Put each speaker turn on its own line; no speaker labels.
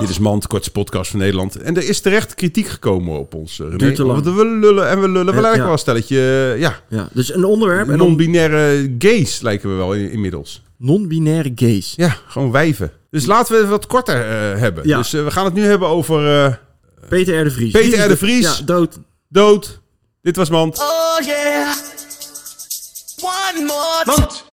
Dit is Mand, kortste podcast van Nederland. En er is terecht kritiek gekomen op ons. eh, René.
te lang. Eh,
Want we lullen en we lullen. We
Ja,
lijken
ja.
wel een stelletje, eh, ja,
Ja, dus een onderwerp. En dan
non-binaire gays lijken we wel in- inmiddels.
non-binaire gays.
Ja, gewoon wijven. Dus laten we het wat korter eh, hebben.
Ja.
Dus eh, we gaan het nu hebben over eh,
Peter R. de Vries.
Peter
Die is
R. de Vries.
Ja, dood.
dood. Dit was Mand.
Oh yeah. One more.